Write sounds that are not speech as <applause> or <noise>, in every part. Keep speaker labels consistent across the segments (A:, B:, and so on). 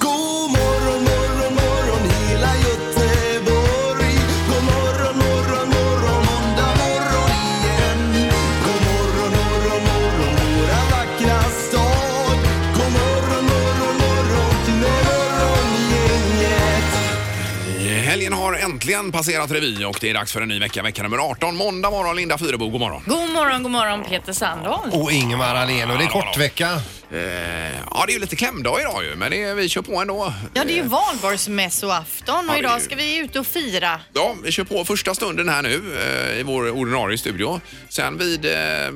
A: God morgon, morgon, morgon hela Göteborg. God morgon, morgon, morgon måndag morgon igen. God morgon, morgon, morgon våra vackra stad. God morgon, morgon, morgon till morgongänget.
B: Helgen har äntligen passerat revy och det är dags för en ny vecka, vecka nummer 18. Måndag morgon, Linda Fyrebo, god morgon.
C: God morgon, god morgon Peter Sandholm.
D: Och Ingemar Ahlén och det är kortvecka.
B: Eh, ja, det är ju lite klämdag idag ju, men det är, vi kör på ändå.
C: Ja, det är ju valborgsmässoafton
B: det
C: och
B: är ju-
C: idag ska vi ut och fira.
B: Ja, vi kör på första stunden här nu eh, i vår ordinarie studio. Sen vid eh,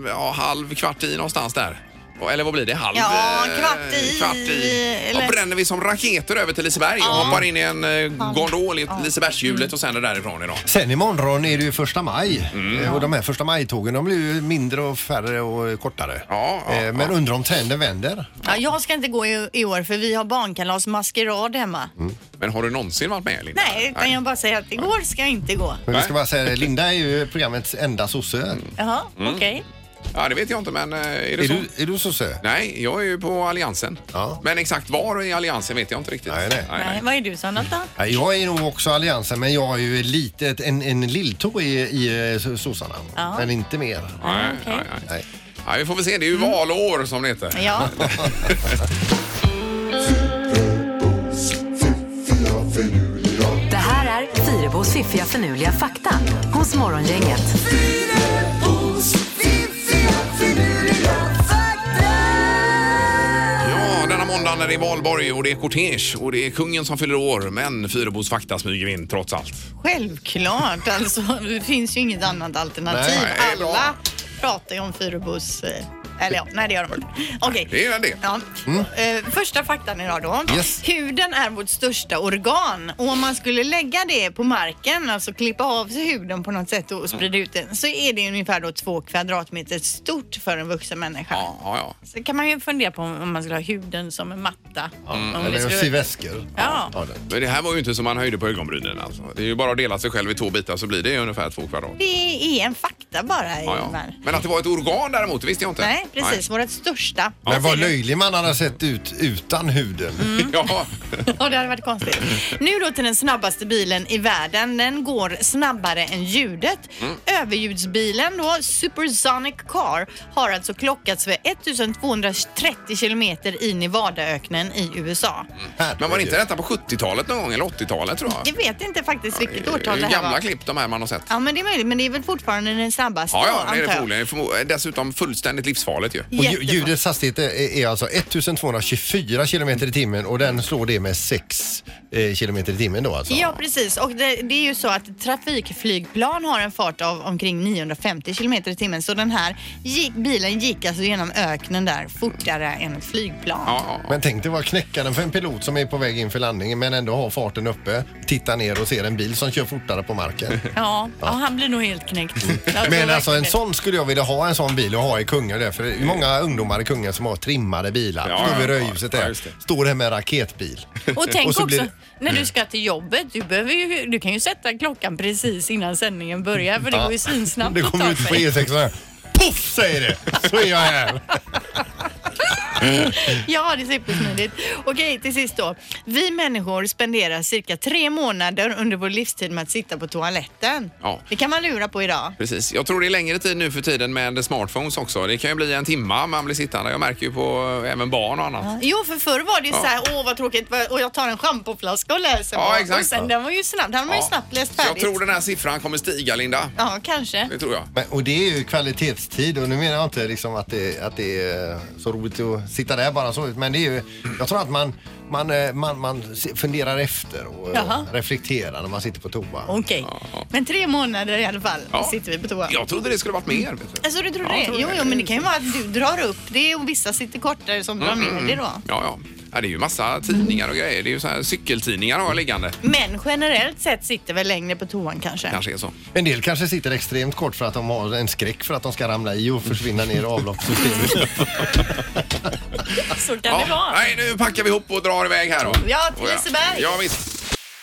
B: ja, halv, kvart i någonstans där. Och- Eller vad blir det? Halv?
C: Ja,
B: eh,
C: kvart i,
B: Kvart i.
C: eller-
B: Då bränner vi som raketer över till Liseberg och hoppar in i en eh, gondol i Lisebergshjulet och sen är det därifrån idag.
D: Sen imorgon är det ju första maj
B: Mm.
D: Eh, och de här första maj-tågen de blir ju mindre och färre och kortare.
B: Ja, ja,
D: Eh, Men undrar om trenden vänder?
C: Ja, jag ska inte gå i, i år för vi har barnkalasmaskerad hemma.
D: Mm.
B: Men har du någonsin varit med Linda?
C: Nej, utan jag bara säger att igår ska jag inte gå.
D: Men vi ska
B: Nej. Mm.
D: bara säga Linda är ju programmets enda sosse.
C: Jaha, okej.
B: Ja, det vet jag inte, men eh, är det
D: Är
B: så?
D: du, är du sosse?
B: Nej, jag är ju på Alliansen.
D: Ja.
B: Men exakt var i Alliansen vet jag inte riktigt.
D: Nej, nej.
C: Nej, vad är du Sandholm?
D: Nej, Jag är nog också Alliansen men jag är ju lite ett- en, en lilltå i, i eh, so- sossarna.
C: Ja.
D: Men inte mer.
B: Nej, nej, nej.
D: Nej.
B: Ja, vi får väl se. Det är ju valår som det heter.
C: Mm. Ja,
B: Mm.
E: Det här är Fyrabos fiffiga förnuliga fakta hos Morgongänget.
B: <laughs> Ja, denna måndag när det är valborg och det är kortege och det är kungen som fyller år. Men Fyrebos fakta smyger in trots allt.
C: självklart. Alltså, det finns ju inget annat alternativ.
B: Nej, det är bra.
C: Alla pratar ju om Furubos... eh, Eller ja, nej det gör de inte. Okej.
B: Det är väl det.
C: Ja.
D: Mm.
C: Eh, Första faktan idag då.
D: Yes.
C: Huden är vårt största organ och om man skulle lägga det på marken, alltså klippa av sig huden på något sätt
B: Mm.
C: och sprida ut den, så är det ungefär då två kvadratmeter stort för en vuxen människa.
B: Ja, ja, ja.
C: Så kan man ju fundera på om man skulle ha huden som en matta. Om vi
D: Eller jag
C: skulle-
D: syr väskor.
C: Ja.
D: det.
B: Mm. Men det här var ju inte som man höjde på ögonbrynen alltså. Det är ju bara att dela sig själv i två bitar så blir det ju ungefär två kvadrat.
C: Det är en fakta bara,
B: Ja, ja.
C: Ingmar.
B: Men att det var ett organ däremot, det visste jag inte.
C: Nej, precis. Vårt största.
D: Men vad
C: Säger du?
D: löjlig man hade sett ut utan huden.
B: Nej. <laughs> Ja.
C: <laughs> Ja, det hade varit konstigt. Nu då till den snabbaste bilen i världen. Den går snabbare än ljudet. Överljudsbilen då, Supersonic Car, har alltså klockats för 1230 kilometer i Nevadaöknen i USA.
B: Men var det inte detta på 70-talet någon gång eller 80-talet Mm, tror jag?
C: Jag vet inte faktiskt vilket
B: Det är
C: årtal
B: ju
C: det här
B: gamla
C: var.
B: klipp de här man har sett.
C: Ja, men det är möjligt, men det är väl fortfarande den snabbaste
B: Ja,
C: då,
B: ja, det är det
C: antar jag.
B: förmodligen. Förmo- Dessutom fullständigt livsfarligt ju.
D: Och lju-
C: Jättebra.
D: ljudets hastighet är, är alltså 1224 kilometer i timmen och den slår det med 6 eh, kilometer i timmen då alltså.
C: Ja, precis. Och det, det är ju så att trafikflygplan har en fart av omkring 950 kilometer i timmen. Så den här gick, bilen gick alltså genom öknen där fortare än ett flygplan.
B: Ja, ja, ja.
D: Men tänk dig vad knäckande för en pilot som är på väg in för landningen men ändå har farten uppe, tittar ner och ser en bil som kör fortare på
B: <laughs>
D: marken.
C: Ja, ja. han blir nog helt knäckt.
D: Men alltså en sån skulle jag vilja ha en sån bil och ha i Kungälv där, för det är många ungdomar i Kungälv som har trimmade bilar.
B: Mm. Ja,
D: Står vid
B: ja,
D: rödljuset
B: ja,
D: där,
B: just det.
D: står det med raketbil.
B: <laughs>
C: Och tänk
D: Och så
C: också
D: blir det-
C: när
B: Mm.
C: du ska till jobbet. Du, behöver ju, du kan ju sätta klockan precis innan sändningen börjar för det går ju svinsnabbt
D: Det
C: att
D: kommer
C: ta
D: ut på
C: sig.
D: E6 och här, poff säger det, så är jag här.
C: Ja, det är supersmidigt. Okej, till sist då. Vi människor spenderar cirka tre månader under vår livstid med att sitta på toaletten.
B: Ja.
C: Det kan man lura på idag.
B: Precis. Jag tror det är längre tid nu för tiden med smartphones också. Det kan ju bli en timma man blir sittande. Jag märker ju på eh, även barn och annat.
C: Jo, för förr var det ju
B: Ja.
C: så här, åh vad tråkigt, vad- och jag tar en schampoflaska och läser.
B: Ja,
C: på."
B: exakt.
C: Och sen den var ju snabb, den har man ju
B: Ja.
C: snabbt läst
B: Så jag
C: färdigt.
B: tror den här siffran kommer stiga, Linda.
C: Ja, kanske.
B: Det tror jag.
D: Men, och det är ju kvalitetstid och nu menar jag inte liksom att, det, att det är så roligt att sitta där bara så. Men det är ju, jag tror att man, man, eh, man, man se- funderar efter och eh,
C: Jaha.
D: reflekterar när man sitter på toa.
C: Okej, men tre månader i alla fall
B: Ja.
C: sitter vi på toa.
B: Jag trodde det skulle varit mer. Vet du.
C: Alltså du tror
B: Ja,
C: det?
B: tror
C: Jo,
B: det.
C: jo, men det kan ju vara att du drar upp det och vissa sitter kortare som drar ner det då.
B: Mm, Ja, ja. Ja, det är ju massa tidningar och grejer. Det är ju så här cykeltidningar har jag liggande.
C: Men generellt sett sitter väl längre på toan kanske.
B: Kanske är så.
F: En del kanske sitter extremt kort för att de har en skräck för att de ska ramla i och försvinna ner i
C: <laughs>
F: avloppssystemet.
C: Så kan
B: Ja.
C: det vara.
B: Nej, nu packar vi ihop och drar iväg här då.
C: Ja, till
B: Och
C: Liseberg.
B: Oh Ja, visst.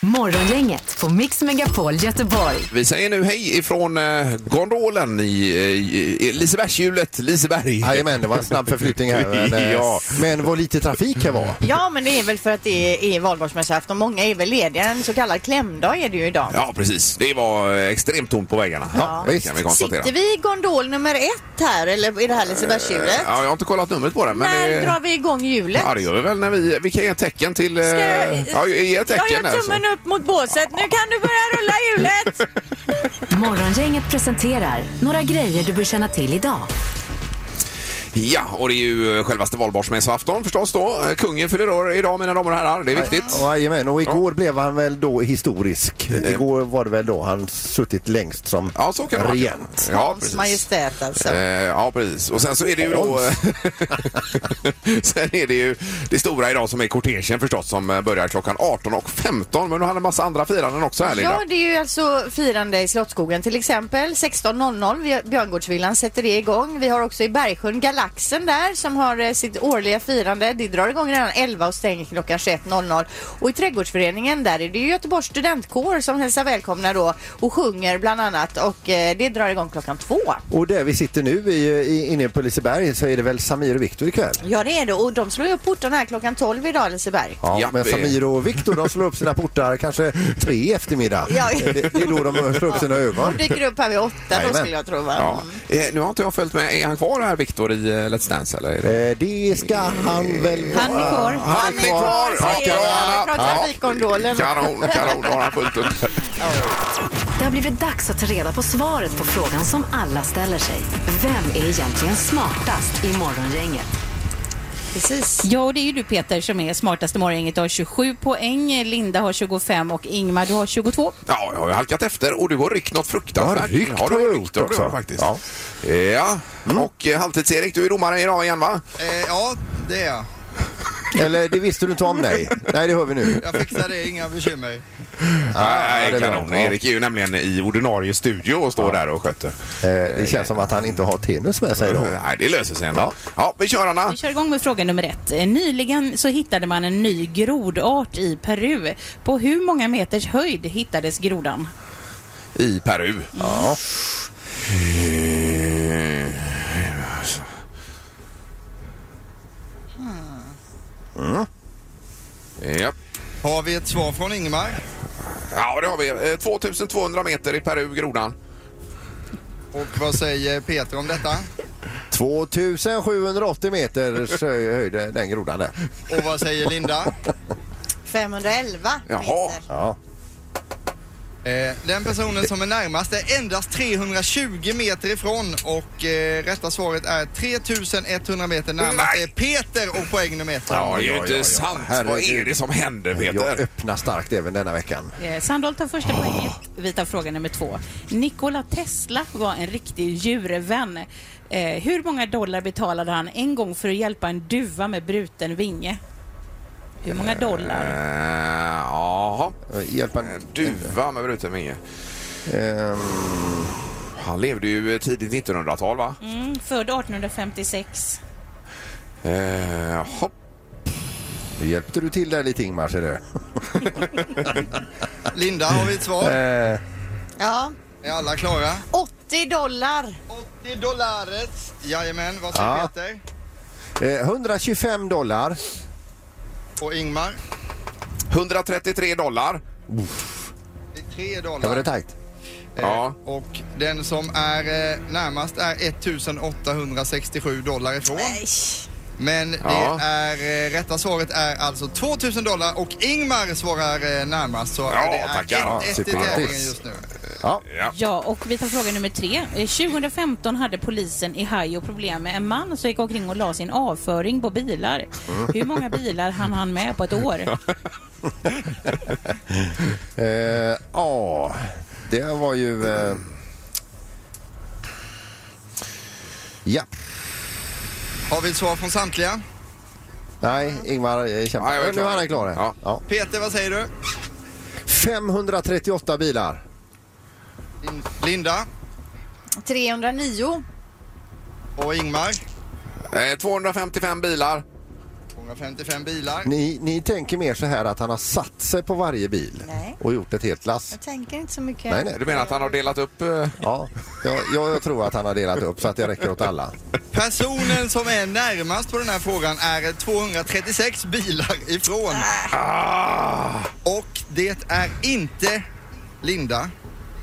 G: Morgongänget på Mix Megapol Göteborg.
B: Vi säger nu hej ifrån eh, gondolen i, eh, i Lisebergshjulet, Liseberg.
D: Jajamän, det var en snabb förflyttning här.
B: <laughs>
D: Men, eh,
B: Ja.
D: men vad lite trafik här var.
C: Ja, men det är väl för att det är valborgsmässoafton. Många är väl lediga. En så kallad klämdag är det ju idag.
B: Ja, precis. Det var eh, extremt tomt på vägarna.
C: Ja,
B: det kan vi konstatera.
C: Sitter vi i gondol nummer ett här eller i det här Lisebergshjulet?
B: Eh, Ja, jag har inte kollat numret på den. Men
C: När
B: det...
C: drar vi igång hjulet?
B: Ja, det gör vi väl när vi... Vi kan ge tecken till... eh,
C: Ska jag-
B: Ja, ge ett tecken
C: jag gör
B: där, så-
C: tummen upp mot båset. Nu kan du börja rulla hjulet!
G: Morgongänget presenterar några grejer du bör känna till idag.
B: Ja, och det är ju eh, självaste valborgsmässoafton förstås då. Eh, Kungen fyller år idag mina damer och herrar, det är viktigt.
D: Ja, Jajamän, och igår blev han väl då historisk. Igår var det väl då han suttit längst som
B: Ja, så kan det vara.
D: regent.
B: Ja,
C: Hans
B: precis.
C: Majestät alltså.
B: Eh, ja, precis. Och sen så är det ju då... <laughs> sen är det ju det stora idag som är kortegen förstås som eh, börjar klockan 18.15. Men du hade en massa andra firanden också här Linda.
C: Ja, det är ju alltså firande i Slottsskogen till exempel. 16.00 vid Björngårdsvillan sätter det igång. Vi har också i Bergsjön Galaxen där som har eh, sitt årliga firande. Det drar igång redan 11 och stänger klockan 21.00. Och i Trädgårdsföreningen där är det ju Göteborgs studentkår som hälsar välkomna då och sjunger bland annat och eh, det drar igång klockan två.
D: Och där vi sitter nu i, i, inne på Liseberg så är det väl Samir och Viktor ikväll?
C: Ja, det är det och de slår ju upp portarna här klockan 12 idag Liseberg.
D: Ja,
B: Japp,
D: men
B: eh.
D: Samir och Viktor de slår upp sina portar kanske tre i eftermiddag.
C: Ja.
D: Det, det är då de slår upp sina ögon.
C: De dyker upp här vid åtta då
D: Jajamän.
C: skulle jag tro. Va?
B: Ja. Eh, nu har inte jag följt med. Är han kvar här Viktor i eh, Let's Dance eller? Är det...
D: Eh, Det ska han väl
C: Han är kvar.
B: Han är kvar!
C: säger
B: Ja,
C: jag. Från
B: ja.
C: trafikkondolen.
B: Kanon, kanon, har han fullt upp.
G: Det har blivit dags att ta reda på svaret på frågan som alla ställer sig. Vem är egentligen smartast i Morgongänget?
C: Precis.
H: Ja, och det är ju du Peter som är smartaste morgongänget. Du har 27 poäng, Linda har 25 och Ingmar du har 22.
B: Ja, jag har ju halkat efter och du har ryckt något fruktansvärt.
D: Jag har ryckt
B: du
D: har jag
B: ryckt
D: gjort
B: har du
D: också.
B: faktiskt. Ja.
D: Ja.
B: Och eh, Halvtids-Erik, du är domare idag igen va?
I: Eh, ja, det är jag.
D: <laughs> Eller det visste du inte om, nej. Nej, det hör vi nu.
I: Jag fixar det, inga bekymmer.
B: Nej,
D: det är
B: kanon.
D: bra. Ja.
B: Erik är ju nämligen i ordinarie studio och står där och sköter.
D: Eh, Det känns som att han inte har tenus med sig då.
B: Nej, det löser sig ändå. Ja, vi kör Anna.
H: Vi kör igång med fråga nummer ett. Eh, Nyligen så hittade man en ny grodart i Peru. På hur många meters höjd hittades grodan?
B: I Peru. Ja. Eh, Ja.
I: Har vi ett svar från Ingmar?
B: ja, det har vi. Eh, 2200 meter i Peru, grodan.
I: Och vad säger Peter om detta?
D: 2780 meters hö- höjd, eh, den grodan där.
I: Och vad säger Linda?
C: 511
B: Jaha.
C: meter.
D: Ja.
I: Eh, den personen som är närmast är endast 320 meter ifrån och eh, rätta svaret är 3100 meter närmast
B: Nej.
I: är Peter och poäng nummer ett.
B: Ja, det är ju inte sant. Vad är
D: Herregud.
B: det som händer,
D: Jag
B: Peter?
D: öppnar starkt även denna veckan.
H: Eh, Sandholt tar första poängen. Vi tar fråga nummer två. Nikola Tesla var en riktig djurvän. Eh, hur många dollar betalade han en gång för att hjälpa en duva med bruten vinge? Hur många dollar?
B: Eh, Jaha.
D: Eh, Hjälp en...
B: Duva med bruten vinge.
D: Ehm,
B: Han levde ju tidigt 1900-tal, va?
H: Mm, född 1856.
B: Eh, hopp.
D: nu hjälpte du till där lite Ingmar, ser du.
I: <laughs> Linda, har vi ett svar?
D: Eh,
C: Ja.
I: Är alla klara?
C: 80 dollar.
I: 80 dollaret. Jajamän, vad säger
D: Ja.
I: Peter?
D: eh, 125 dollar.
I: Och Ingmar?
B: 133 dollar.
I: Det är 3
D: Det var
I: dollar.
D: det tajt.
B: Ja.
I: Och den som är eh, närmast är 1867 dollar ifrån. Men
B: Ja.
I: det är, eh, rätta svaret är alltså 2000 dollar och Ingmar svarar eh, närmast. Så
B: Ja,
I: det är
B: tackar. Ja,
I: 1-1 i
D: supergrattis.
I: tävlingen just nu.
D: Ja.
H: Ja, och vi tar fråga nummer tre. Eh, 2015 hade polisen i Ohio problem med en man som gick omkring och la sin avföring på bilar. Hur många bilar hann han med på ett år?
D: <laughs> Eh, ja, det var ju... Eh... Ja,
I: Har vi ett svar från samtliga?
D: Nej, Ingmar eh,
B: Ja, jag är
D: kämpar. Nu
B: klar.
D: är han klar. här.
B: Ja.
D: Ja.
I: Peter, vad säger du?
D: 538 bilar.
I: Lin- Linda
C: 309.
I: och Ingmar.
B: Eh, 255 bilar.
I: 255 bilar.
D: Ni, ni tänker mer så här att han har satt sig på varje bil
C: Nej.
D: och gjort ett helt lass.
C: Jag tänker inte så mycket.
D: Nej, nej.
B: Du menar att han har delat upp... eh,
D: Ja, jag, jag, jag tror att han har delat upp så att det räcker åt alla.
I: Personen som är närmast på den här frågan är 236 bilar ifrån. Och det är inte Linda.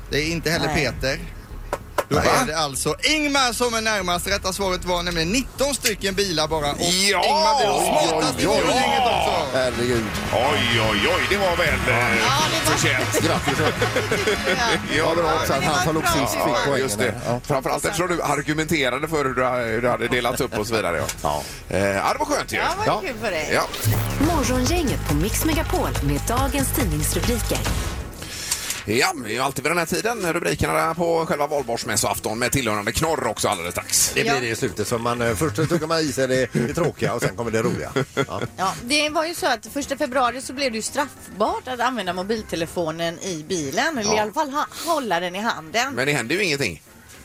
I: Det är inte heller Peter. Då är det alltså Ingmar som är närmast. Rätta svaret var nämligen 19 stycken bilar bara. Och
B: Ja!
I: Ingmar blir då smartast i
B: Ja!
I: morgongänget också.
D: Herregud.
B: Oj, oj, oj, det var väl eh, förtjänt.
D: Grattis.
B: Ja,
D: Ja, bra också att han som nog sist fick
B: Ja,
D: poängen.
B: just det.
D: där. Ja.
B: Framförallt eftersom du argumenterade för hur du, hur du hade delats upp och så vidare. Ja,
D: Ja.
B: Eh, ja det var skönt ju.
C: Ja, vad
D: Ja.
C: kul för dig.
B: Ja.
G: Morgongänget på Mix Megapol med dagens tidningsrubriker.
B: Ja, det är ju alltid vid den här tiden rubrikerna på själva valborgsmässoafton med tillhörande knorr också alldeles strax.
D: Det blir det i slutet. Så man, eh, först tuggar man i sig det, det tråkiga och sen kommer det roliga. Ja.
C: Ja, det var ju så att första februari så blev det ju straffbart att använda mobiltelefonen i bilen. Eller i alla fall ha, hålla den i handen.
B: Men det händer ju ingenting.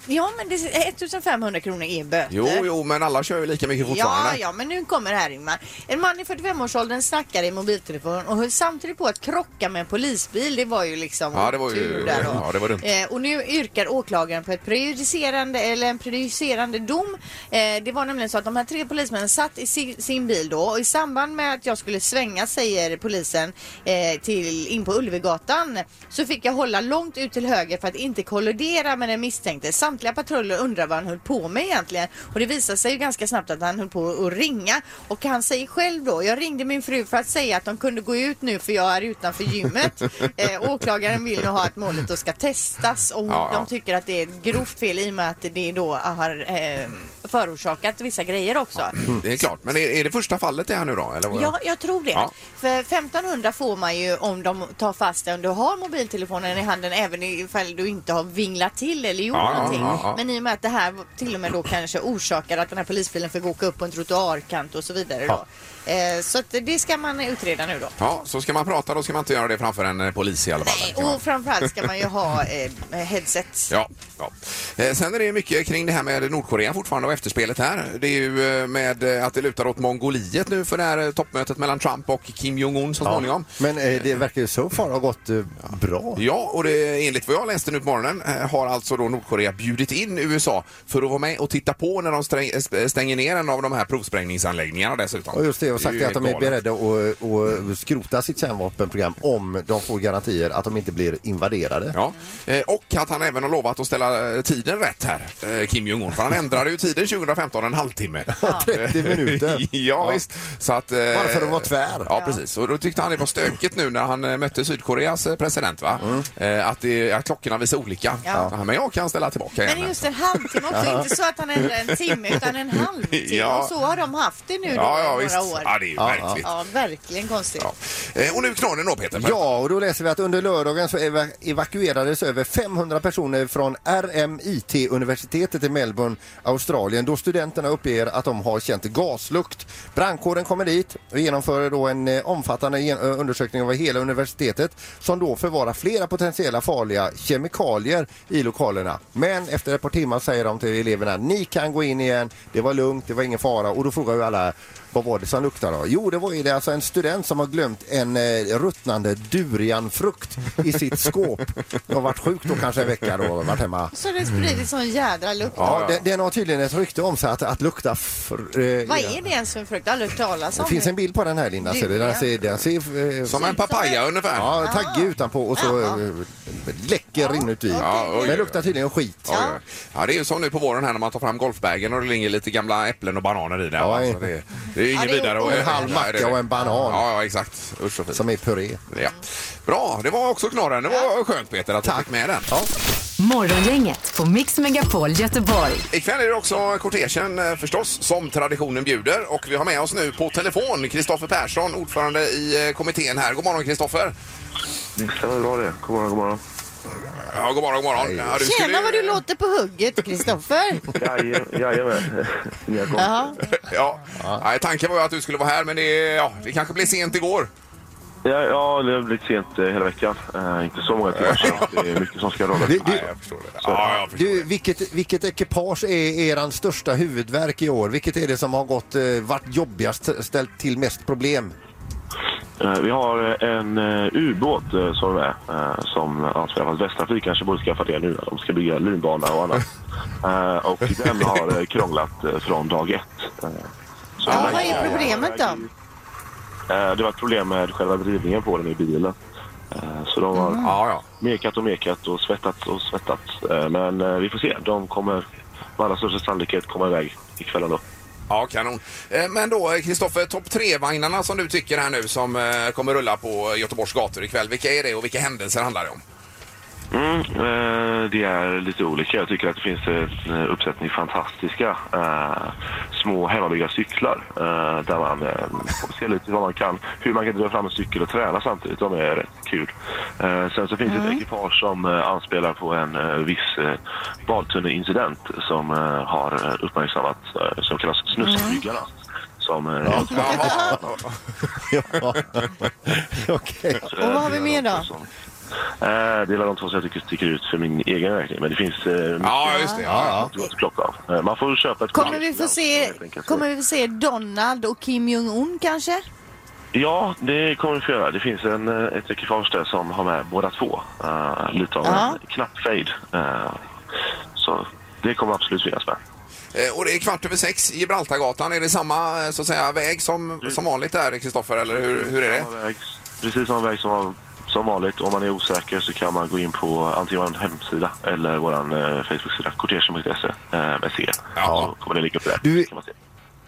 C: Ja, men det, 1500 kronor är böter.
B: Jo, jo, men alla kör ju lika mycket fortfarande.
C: Ja, ja, men nu kommer det här Ingmar. En man i 45-årsåldern snackade i mobiltelefonen och höll samtidigt på att krocka med en polisbil. Det var ju liksom
B: Ja, det var ju-
C: otur där då.
B: ja, det var dumt.
C: Eh, och nu yrkar åklagaren på ett prejudicerande eller en prejudicerande dom. Eh, det var nämligen så att de här tre polismännen satt i si, sin bil då och i samband med att jag skulle svänga säger polisen eh, till, in på Ulvegatan så fick jag hålla långt ut till höger för att inte kollidera med den misstänkte. Samtliga patruller undrar vad han höll på med egentligen och det visade sig ju ganska snabbt att han höll på att ringa och han säger själv då, jag ringde min fru för att säga att de kunde gå ut nu för jag är utanför gymmet. eh, åklagaren vill nu ha att målet då ska testas och
B: Ja, ja.
C: de tycker att det är ett grovt fel i och med att det då har eh, förorsakat vissa grejer också.
B: Mm. Det är klart. Men är, är det första fallet det här nu då? Eller vad?
C: Ja, jag tror det.
B: Ja.
C: För 1500 får man ju om de tar fast dig om du har mobiltelefonen i handen även ifall du inte har vinglat till eller gjort
B: Ja, ja,
C: någonting.
B: ja, ja.
C: Men i och med att det här till och med då kanske orsakar att den här polisbilen fick åka upp på en trottoarkant och så vidare då. Eh, så att det ska man utreda nu då.
B: Ja, så ska man prata då ska man inte göra det framför en eh, polis i alla fall.
C: Nej,
B: Kan man-
C: och framförallt ska man ju ha eh, headset.
B: Ja, ja. Eh, Sen är det mycket kring det här med Nordkorea fortfarande och efterspelet här. Det är ju eh, med eh, att det lutar åt Mongoliet nu för det här eh, toppmötet mellan Trump och Kim Jong-Un så småningom.
D: Men eh, det verkar ju så far ha gått eh, bra.
B: Ja, och det, enligt vad jag läste nu på morgonen eh, har alltså då Nordkorea bjudit in USA för att vara med och titta på när de sträng, eh, stänger ner en av de här provsprängningsanläggningarna dessutom.
D: Och just det, och sagt
B: ju
D: det att de
B: helt
D: är
B: galet.
D: beredda att, eh, att skrota sitt kärnvapenprogram om de får garantier att de inte blir invaderade.
B: Ja. Eh, Och att han även har lovat att ställa eh, tiden rätt här, eh, Kim Jong-Un. För han ändrade ju tiden 2015
D: <laughs>
B: en halvtimme.
D: 30 minuter.
B: <laughs> ja, visst. Så att, eh,
D: Bara för att vara tvär.
B: Ja, precis. Och då tyckte han det var stökigt nu när han eh, mötte Sydkoreas eh, president, va?
D: Mm.
B: Eh, Att, det, att klockorna visar olika.
C: Ja.
B: Så han, Men jag kan ställa tillbaka igen.
C: Men just en halvtimme också, inte så att han ändrar en timme utan en
B: <laughs>
C: halvtimme.
B: Ja.
C: Och så har de haft det nu då
B: ja,
C: i
B: ja,
C: några
B: visst.
C: år.
B: Ja, det är ju märkligt.
C: Ja,
B: Ja.
C: verkligen konstigt.
B: Eh, Och nu knorren då, Peter.
D: Ja, och då läser vi att under lördagen så eva- evakuerades över 500 personer från RMIT-universitetet i Melbourne, Australien, då studenterna uppger att de har känt gaslukt. Brandkåren kommer dit och genomför då en eh, omfattande gen- eh, undersökning av hela universitetet som då förvarar flera potentiella farliga kemikalier i lokalerna. Men efter ett par timmar säger de till eleverna, ni kan gå in igen, det var lugnt, det var ingen fara och då frågar ju alla vad var det som luktade då? Jo, det var ju det alltså en student som har glömt en eh, ruttnande durianfrukt i sitt skåp. Jag har varit sjuk då kanske en vecka då, varit hemma.
C: Så det sprids sån jädra lukt.
D: Ja,
B: ja.
D: Den, den har tydligen ett rykte om sig att, att lukta... Fr, eh,
C: Vad
D: i den.
C: är det ens för en frukt? Aldrig hört talas om.
D: Det finns
C: det.
D: en bild på den här Linda, ser du? Den ser... Den ser eh,
B: Som en papaya ungefär.
D: Ja, tagge utanpå och så eh, läcker inuti.
B: Ja, oj, oj, oj.
D: Men luktar tydligen skit.
B: Ja. ja. ja, det är ju som nu på våren här när man tar fram golfbagen och det ligger lite gamla äpplen och bananer i där.
D: Ja,
B: alltså, det, det är ju inget
C: det är
B: vidare.
C: o-
B: att-
D: En halv
B: Nej, det är
D: macka
B: det.
D: och en banan.
B: Ja, ja exakt. Usch och fy.
D: Som är puré.
B: ja. Bra, det var också knorren. Det var skönt Peter att du
D: Tack.
B: fick med den.
D: Ja.
G: Morgongänget på Mix Megapol Göteborg.
B: Ikväll är det också kortegen eh, förstås, som traditionen bjuder. Och vi har med oss nu på telefon Kristoffer Persson, ordförande i eh, kommittén här. God morgon Kristoffer!
A: Det stämmer bra det. God morgon, god morgon.
B: Ja, god morgon, god morgon. Ja, du skulle
C: Tjena
B: ju-
C: vad du låter på hugget, Kristoffer.
J: Jajamän.
C: Jaha.
B: Ja. Nej, tanken var ju att du skulle vara här, men det, ja, det kanske blev sent igår.
J: Ja, ja, det har blivit sent eh, hela veckan. Eh, inte så många timmar så Det är mycket som ska rulla.
D: Det- det-
J: Nej,
B: jag förstår det.
D: Du, vilket, vilket ekipage är er största huvudvärk i år? Vilket är det som har gått, eh, varit jobbigast, ställt till mest problem?
J: Eh, Vi har eh, en eh, ubåt eh, som är eh, som anser att Västtrafik kanske borde skaffa det nu. De ska bygga linbana och
D: <laughs>
J: annat. Eh, Och den har eh, krånglat eh, från dag ett. Eh, så
C: Ja,
J: den-
C: vad är problemet då?
J: Eh, Det var ett problem med själva drivningen på den i bilen. Eh, Så de har mekat och mekat och svettat och svettat. Eh, Men eh, vi får se. De kommer med allra största sannolikhet komma iväg ikväll ändå.
B: Ja, kanon. Eh, Men då, eh, Kristoffer, topp tre-vagnarna som du tycker här nu som eh, kommer rulla på Göteborgs gator ikväll. Vilka är det och vilka händelser handlar det om?
J: Mm, eh, det är lite olika. Jag tycker att det finns en uppsättning fantastiska eh, små hemmabyggda cyklar eh, där man eh, får se lite vad man kan, hur man kan dra fram en cykel och träna samtidigt. De är rätt kul. Eh, sen så finns det ett ekipage som eh, anspelar på en eh, viss eh, badtunneincident som eh, har eh, uppmärksammat, eh, som kallas Snuskbyggarna. Som, eh,
B: <laughs>
D: Okej.
J: Så, eh,
C: Och vad har vi
J: det
C: mer
J: är de
C: då?
J: två som- Eh, Det är väl de två som jag tycker sticker ut för min egen räkning. Men det finns eh, mycket
B: Ja, just det. Ja,
J: gott att plocka av. Eh, Man får köpa ett
C: Kommer
J: paket
C: vi få
J: ibland,
C: se,
J: helt enkelt.
C: kommer vi få se Donald och Kim Jong-Un kanske?
J: Ja, det kommer vi få göra. Det finns en, eh, ett ekipage där som har med båda två. Eh, lite av
C: Ja.
J: en knappfejd. Eh, så det kommer absolut finnas med.
B: Eh, Och det är kvart över sex, Gibraltargatan. Är det samma eh, så att säga, väg som, som vanligt där, Kristoffer? Eller hur, hur är det?
J: Samma väg, precis samma väg som, som vanligt. Om man är osäker så kan man gå in på antingen vår hemsida eller vår eh, Facebook-sida, kortegen.se eh, med C. Så kommer det ligga upp där.
D: <laughs> Du-
J: kan man se.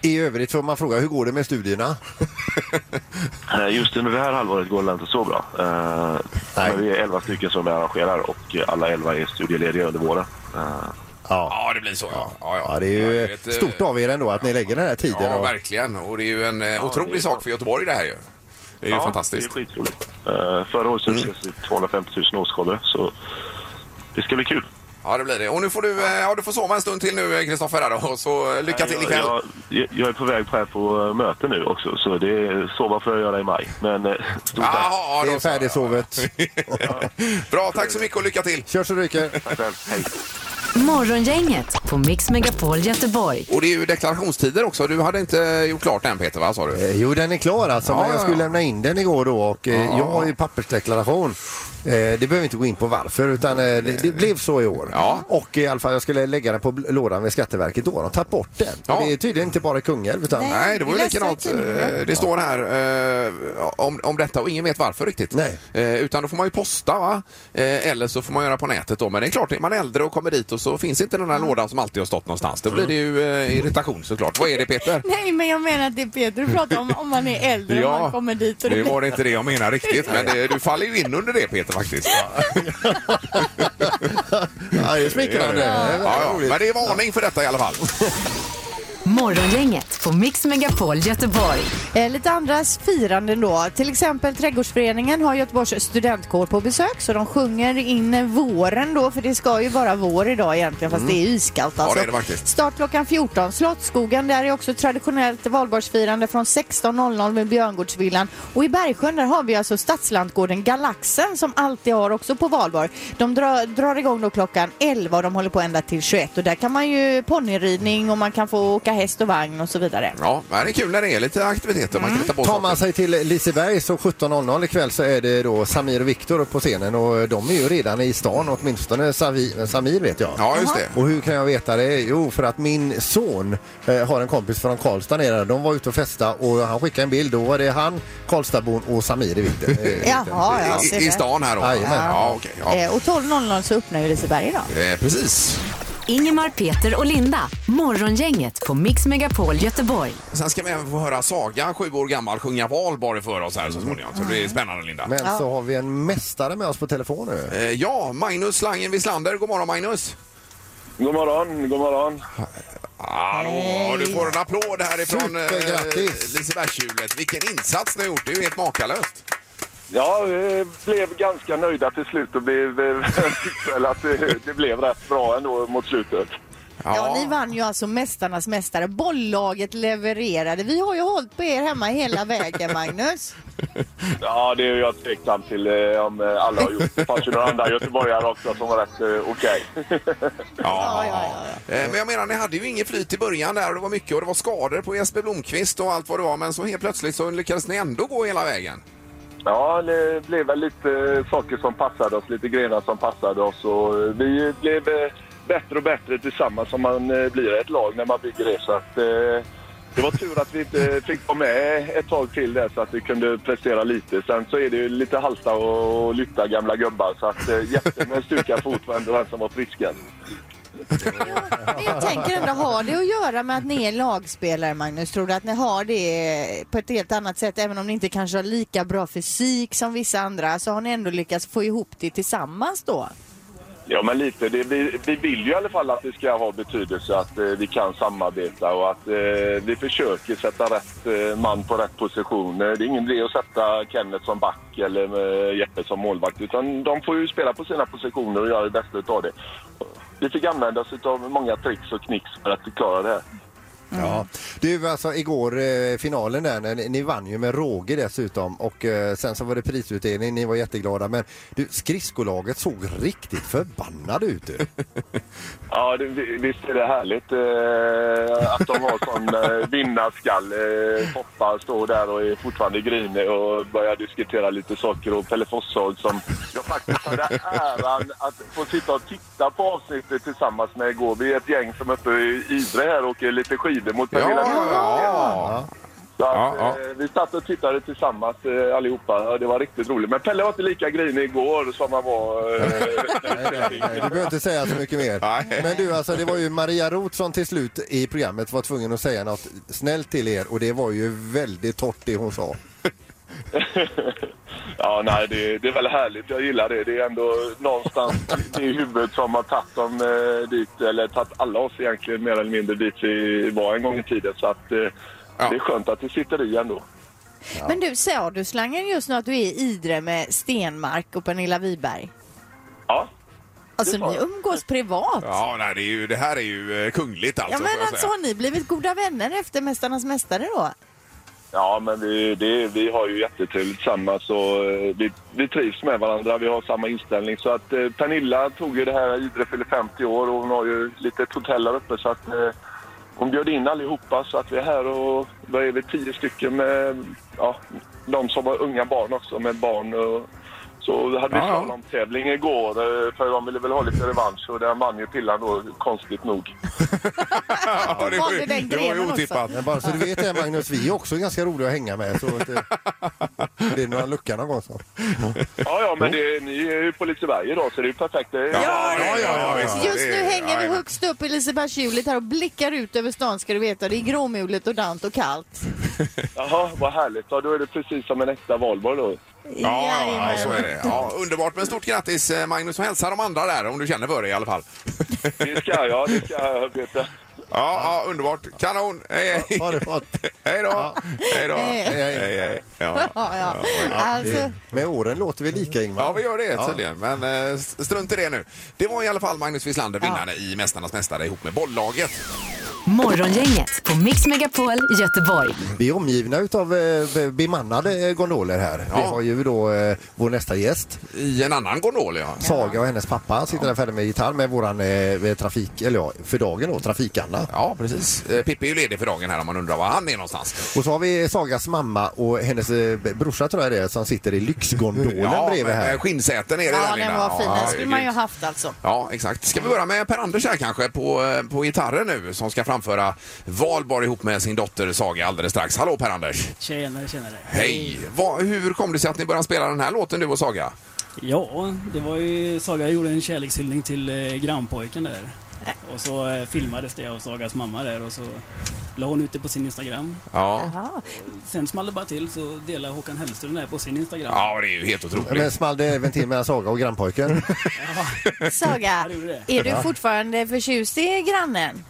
D: I övrigt får man fråga, hur går det med studierna?
J: Eh, Just under det här halvåret går det inte så bra. Eh, Men vi är elva stycken som är arrangerar och eh, alla elva är studielediga under våren. Eh,
B: Ja, det blir så. Ja, ja, ja.
D: Ja, det är
B: Ja,
D: ju
B: ett, eh,
D: stort av er ändå att ni lägger den här tiden.
B: Ja,
D: och-
B: verkligen. Och det är ju en eh, otrolig sak för Göteborg det här ju. Det är ju
J: ja,
B: fantastiskt.
J: Det är skitroligt. Eh, Förra året så
D: Mm.
J: lyckades vi 250 000 åskådare så det ska bli kul.
B: Ja, det blir det. Och nu får du, eh, ja, du får sova en stund till nu, eh, Kristoffer, här då. Och så eh, lycka till
J: jag,
B: ikväll.
J: jag, jag- jag är på väg på här på eh, möte nu också så det är sova får jag göra i maj. Men eh, stort tack.
B: Jaha,
D: Det
B: ja,
D: är
B: då så.
D: färdigsovet.
B: <laughs> Bra, tack så mycket och lycka till.
D: Kör så det ryker.
J: Tack själv. Hej.
G: Morgongänget på Mix Megapol Göteborg.
B: Och det är ju deklarationstider också. Du hade inte gjort klart den Peter, va? Sa du?
D: Eh, Jo, den är klar alltså,
B: Ja,
D: men
B: ja,
D: jag skulle
B: ja.
D: lämna in den igår då och eh, jag har ju pappersdeklaration. Eh, Det behöver vi inte gå in på varför, utan eh, det, det blev så i år.
B: Ja.
D: Och eh, i alla fall, jag skulle lägga den på bl- lådan vid Skatteverket då. De har tagit bort den.
B: Ja.
D: Det är tydligen inte bara i Kungälv, utan nej.
B: Nej, det var ju
C: vi läste
B: likadant.
C: i tidningen.
B: Eh, Det står här eh, om, om detta och ingen vet varför riktigt.
D: Nej.
B: Eh, utan då får man ju posta va? Eh, eller så får man göra på nätet då. Men det är klart, är man äldre och kommer dit och så finns inte den här lådan som alltid har stått någonstans. Då blir det ju eh, irritation såklart. Vad är det Peter?
K: Nej, men jag menar att det Peter pratar om, om man är äldre och man kommer dit och
B: det
K: det
B: var inte det jag menade riktigt. Men det, du faller ju in under det Peter faktiskt. <laughs>
D: ja, det är smickrande.
B: Ja, ja.
D: Roligt.
B: Men det är varning för detta i alla fall.
G: Morgongänget på Mix Megapol Göteborg.
C: Eh, lite andras firanden då. Till exempel Trädgårdsföreningen har Göteborgs studentkår på besök så de sjunger in våren då för det ska ju vara vår idag egentligen fast det är iskallt alltså.
B: det är det faktiskt.
C: Start klockan 14. Slottsskogen där är också traditionellt valborgsfirande från 16.00 med Björngårdsvillan och i Bergsjön där har vi alltså Stadslantgården Galaxen som alltid har också på valborg. De drar, drar igång då klockan 11 och de håller på ända till 21 och där kan man ju ponnyridning och man kan få åka häst och vagn och så vidare.
B: Ja, men det är kul när det är lite aktiviteter. Man kan hitta på
D: Mm. Tar
B: saker.
D: man sig till Liseberg så 17.00 ikväll så är det då Samir och Viktor på scenen och de är ju redan i stan åtminstone Savi- Samir vet jag.
B: Ja, just det.
D: Och hur kan jag veta det? Jo, för att min son eh, har en kompis från Karlstad nere. De var ute och festa och han skickade en bild. Då var det han, Karlstadbon och Samir i vikten.
C: <laughs>
D: Eh,
C: Jaha, ja, se
B: I, I
C: där.
B: stan här då?
D: Jajamän.
B: Ja, okej. ja.
C: Eh, och 12.00 så öppnar ju Liseberg idag.
B: Eh, precis.
G: Ingemar, Peter och Linda. Morgongänget på Mix Megapol Göteborg.
B: Sen ska vi även få höra Saga, sju år gammal, sjunga valborg för oss här så småningom. Så det blir spännande, Linda.
D: Men så har vi en mästare med oss på telefon nu.
B: Eh, Ja, Magnus Slangen Wislander. God morgon, Magnus!
J: God morgon, god morgon.
B: Hallå! Du får en applåd härifrån eh,
D: Supergrattis.
B: Lisebergshjulet. Vilken insats ni har gjort! Det är ju helt makalöst.
L: Ja, vi blev ganska nöjda till slut och blev, tyckte <laughs> väl att eh, det, det blev rätt bra ändå mot slutet.
M: Ja, ni vann ju alltså Mästarnas mästare. Bolllaget levererade. Vi har ju hållit på er hemma hela vägen, Magnus.
L: Ja, det är jag tveksam till eh, om eh, alla har gjort. Det fanns ju några andra göteborgare också som var rätt eh, okej.
B: Ja, Eh, Men jag menar, ni hade ju ingen flyt i början där och det var mycket och det var skador på Jesper Blomqvist och allt vad det var. Men så helt plötsligt så lyckades ni ändå gå hela vägen.
L: Ja, det blev väl lite saker som passade oss, lite grenar som passade oss och vi blev eh, bättre och bättre tillsammans som man eh, blir ett lag när man bygger det. Så att, eh, det var tur att vi inte fick vara med ett tag till där så att vi kunde prestera lite. Sen så är det ju lite halta och lytta gamla gubbar så att eh, Jeppe med stukad fot var ändå den som var friskast.
M: Men jag tänker ändå, har det att göra med att ni är lagspelare, Magnus? Tror du att ni har det på ett helt annat sätt? Även om ni inte kanske har lika bra fysik som vissa andra så har ni ändå lyckats få ihop det tillsammans då?
L: Ja, men lite. Det, vi, vi vill ju i alla fall att det ska ha betydelse att eh, vi kan samarbeta och att eh, vi försöker sätta rätt eh, man på rätt position. Eh, Det är ingen idé att sätta Kenneth som back eller eh, Jeppe som målvakt utan de får ju spela på sina positioner och göra det bästa av det. Vi fick använda oss av många tricks och knicks för att klara det här.
M: Mm.
D: Ja. Du, alltså igår eh, finalen där, när ni, ni vann ju med råge dessutom och eh, sen så var det prisutdelning, ni var jätteglada men du, skridskolaget såg riktigt förbannade
M: <laughs>
D: ut du. Eh,
L: Ja, det, vi- visst är det härligt eh, att de har sån eh, vinnarskall. Eh, Foppa står där och är fortfarande grinig och börjar diskutera lite saker. Och Pelle Forshaug som jag faktiskt hade äran att få sitta och titta på avsnittet tillsammans med igår. Vi är ett gäng som är uppe i Idre här och åker lite skidor mot Pernilla
B: ja.
L: Så att, Eh, vi satt och tittade tillsammans eh, allihopa. Ja, Det var riktigt roligt. Men Pelle var inte lika grinig igår som han var... Eh,
D: Du behöver inte säga så mycket mer. Men du, alltså det var ju Maria Roth som till slut i programmet var tvungen att säga något snällt till er och det var ju väldigt torrt det
M: <laughs>
D: hon sa.
L: Ja, nej, det, det är väl härligt. Jag gillar det. Det är ändå någonstans det är huvudet som har tagit dem eh, dit, eller tagit alla oss egentligen mer eller mindre dit vi var en gång i tiden. Så att, eh, det är skönt att det sitter i ändå.
M: Men du, sa du slangen just nu att du är i Idre med Stenmark och Pernilla Wiberg?
L: Ja.
M: Alltså ni umgås privat?
B: Ja, nej, det, är ju, det här är ju eh, kungligt alltså.
M: Ja
B: får
M: men
B: jag
M: alltså
B: säga.
M: har ni blivit goda vänner efter Mästarnas Mästare då?
L: Ja, men vi, det, vi har ju jättetrevligt tillsammans och eh, vi, vi trivs med varandra. Vi har samma inställning. Så att eh, Pernilla tog ju det här, Idre fyller 50 år och hon har ju lite ett hotell där uppe. Så att, eh, hon bjöd in allihopa så att vi är här och då är vi tio stycken med ja, de som har unga barn också, med barn och så hade vi
B: Ja, ja.
L: slalomtävling igår eh, för de ville väl ha lite revansch och där vann ju pillan då, konstigt nog.
B: Ja,
M: det var ju- den det var ju grenen också. otippat.
D: Men bara så du vet det Magnus, vi är också ganska roliga att hänga med. Så
M: <laughs>
D: att, eh, det är några lucka någon gång. Så.
L: Ja, ja, men det, ni är ju på Liseberg idag så det är ju perfekt. Det är...
B: Ja, ja, ja,
L: visst.
M: Just nu hänger vi högst upp i Lisebergshjulet här och blickar ut över stan ska du veta. Det är gråmulet och dant och kallt.
L: Jaha, vad härligt. Ja, då är det precis som en äkta valborg då.
B: Ja, ja, så är det. Ja, underbart, men stort grattis eh, Magnus och hälsa de andra där om du känner för det i alla fall.
L: Det ska jag, det ska jag, Peter.
B: Ja, ja underbart. Kanon! Hej, hej!
D: Ha det gott!
B: Hej då! Hej då!
M: Hej.
B: Hej, hej. Ja.
M: Ja, ja. Alltså,
D: Med åren låter vi lika Ingmar.
B: Ja, vi gör det tydligen. Men eh, s- strunt i det nu. Det var i alla fall Magnus Wislander, vinnare i Mästarnas mästare ihop med bolllaget.
G: Morgongänget på Mix Megapol Göteborg.
D: Vi är omgivna utav eh, be- bemannade eh, gondoler här. Vi har ju då eh, vår nästa gäst.
B: I en annan gondol, ja.
D: Saga och hennes pappa sitter där färdig med gitarr med våran eh, trafik, eller ja, för dagen då, Trafik-Anna.
B: Ja, precis. Eh, Pippi är ju ledig för dagen här om man undrar var han är någonstans.
D: Och så har vi Sagas mamma och hennes eh, brorsa tror jag det är som sitter i lyxgondolen bredvid
B: men,
D: här.
B: eh, Skinnsäten är det
M: ja
B: där,
M: den
B: Linda.
M: var fin.
B: Ja,
M: Den skulle man ju
B: grymt.
M: haft alltså.
B: Ja, exakt. Ska vi börja med Per-Anders här kanske på, eh, på gitarren nu som ska framföra Valborg ihop med sin dotter Saga alldeles strax. Hallå Per-Anders!
N: Tjenare, tjenare.
B: Hej! Va, hur kom det sig att ni började spela den här låten du och Saga?
N: Ja, det var ju Saga gjorde en kärlekshyllning till eh, grannpojken där. Och så eh, filmades det av Sagas mamma där och så la hon ut det på sin Instagram.
B: Ja.
N: Sen small det bara till så delade Håkan Hellström det här på sin Instagram.
B: Ja, det är ju helt
D: Men small det även till mellan Saga och grannpojken?
M: Saga, är du
D: Ja.
M: fortfarande förtjust i grannen?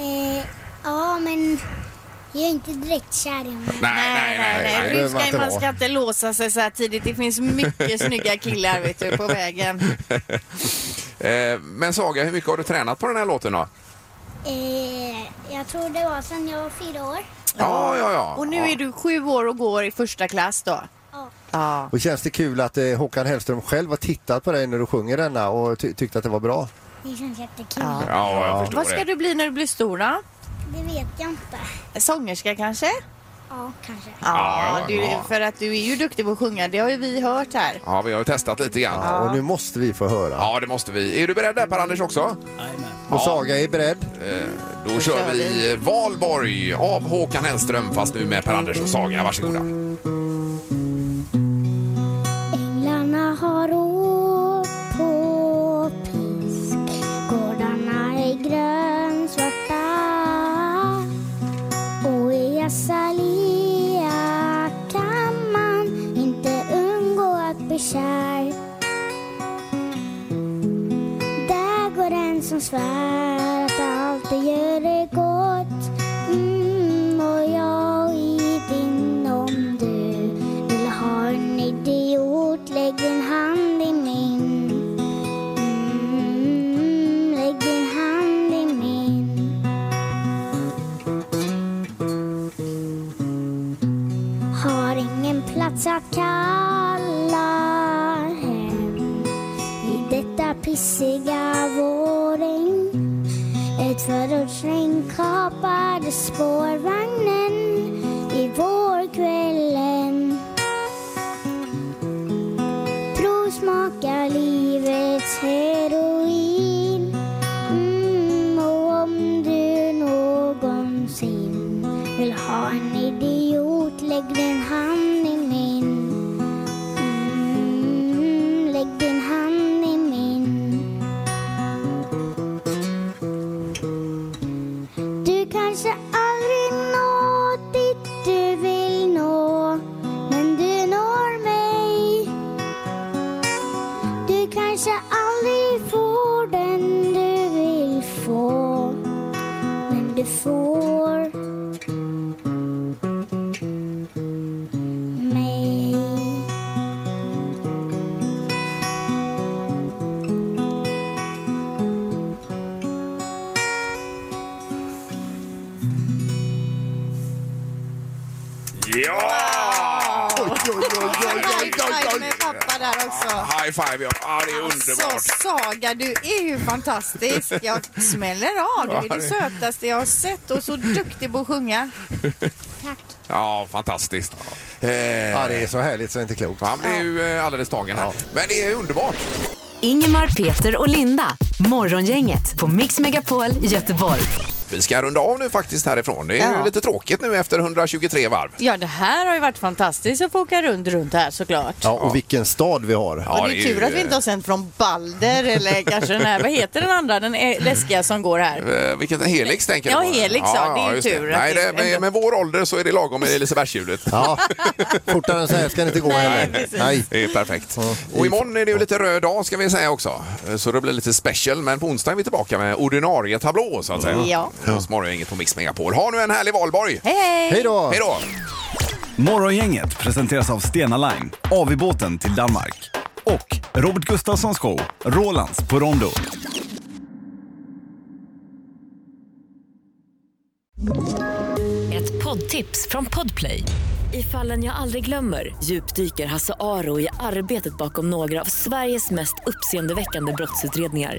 E: Eh, ja, men Jag är inte direkt kär i honom.
B: Nej, nej, nej.
C: Nej,
B: nej.
C: det ska, man ska inte låsa sig så här tidigt. Det finns mycket snygga killar vet du, på vägen.
B: <laughs> Eh, Men Saga, hur mycket har du tränat på den här låten då?
E: Eh, jag tror det var sedan jag var fyra år.
B: Ja, ja, ja.
C: Och nu är du sju år och går i första klass då? Ja.
D: Och känns det kul att eh, Håkan Hellström själv har tittat på dig när du sjunger denna och ty tyckte att det var bra?
E: Det känns jättekul.
B: Ja, jag
C: Vad ska du bli när du blir stor då?
E: Det vet jag inte.
C: Sångerska kanske?
E: Ja, kanske.
C: Ja,
B: Ja,
C: du,
B: ja.
C: för att du är ju duktig på att sjunga. Det har ju vi hört här.
B: Ja, vi har ju testat lite grann.
C: Ja, och nu
D: måste vi få höra.
B: Ja, det måste vi. Är du beredd där Per-Anders också? Eh,
D: Och Saga är beredd.
B: Då, kör vi Valborg av Håkan Hellström fast nu med Per-Anders och Saga. Varsågoda.
E: Änglarna har åkt på pisk Gårdarna är grönsvarta Och i Azalea kan man inte undgå att bli kär Där går en som svär att allt det gör är gott Mm, och jag i din om du vill ha en idiot, lägg din hand i min. Mm, lägg din hand i min. Har ingen plats att kalla hem i detta pissiga vårregn. Ett förortsregn kapade spårvagnen i vårkvällen. Provsmakar livets heroin. Mm, och om du någonsin vill ha en idiot, lägg din hand i min. Mm, lägg din hand i min. Du kanske aldrig når dit du vill nå Men du når mig Du kanske aldrig får den du vill få Men du får mig
B: Ja!
C: High-five med pappa där också.
B: High five, ja. ja det är underbart.
C: Så Saga, du är ju fantastisk. Jag smäller av. Du är det sötaste jag har sett och så duktig på att sjunga.
B: Ja, fantastiskt. Eh,
D: Ja, det är så härligt så det är inte klokt.
B: Han blev ju eh, alldeles tagen här. Men det är underbart.
G: Ingemar, Peter och Linda. Morgongänget på Mix Megapol Göteborg.
B: Vi ska runda av nu faktiskt härifrån. Det är ju
C: Ja.
B: lite tråkigt nu efter 123 varv.
C: Ja, det här har ju varit fantastiskt att få åka runt, runt här såklart.
D: Ja, och vilken stad vi har.
C: Ja, det är tur att vi inte har sänt från Balder eller kanske den här, vad heter den andra, den är- läskiga som går här?
B: Eh, vilket Helix tänker
C: Ja,
B: du på?
C: Helix, ja. Det är ju
B: just
C: tur att
B: Nej,
C: det
B: det, med, med vår ålder så är det lagom med Lisebergshjulet.
D: Ja, fortare än så här ska det inte gå heller. Nej.
B: Det är perfekt. Och imorgon är det ju lite röd dag ska vi säga också. Eh, Så det blir lite special. Men på onsdag är vi tillbaka med ordinarie tablå så att säga.
C: Ja.
B: Hos inget på Mix Megapol. Ha nu en härlig valborg!
C: Hej, hej!
B: Hej då!
A: Morgongänget presenteras av Stena Line, AV-båten till Danmark och Robert Gustafssons show Rolands på Rondo.
O: Ett poddtips från Podplay. I fallen jag aldrig glömmer djupdyker Hasse Aro i arbetet bakom några av Sveriges mest uppseendeväckande brottsutredningar.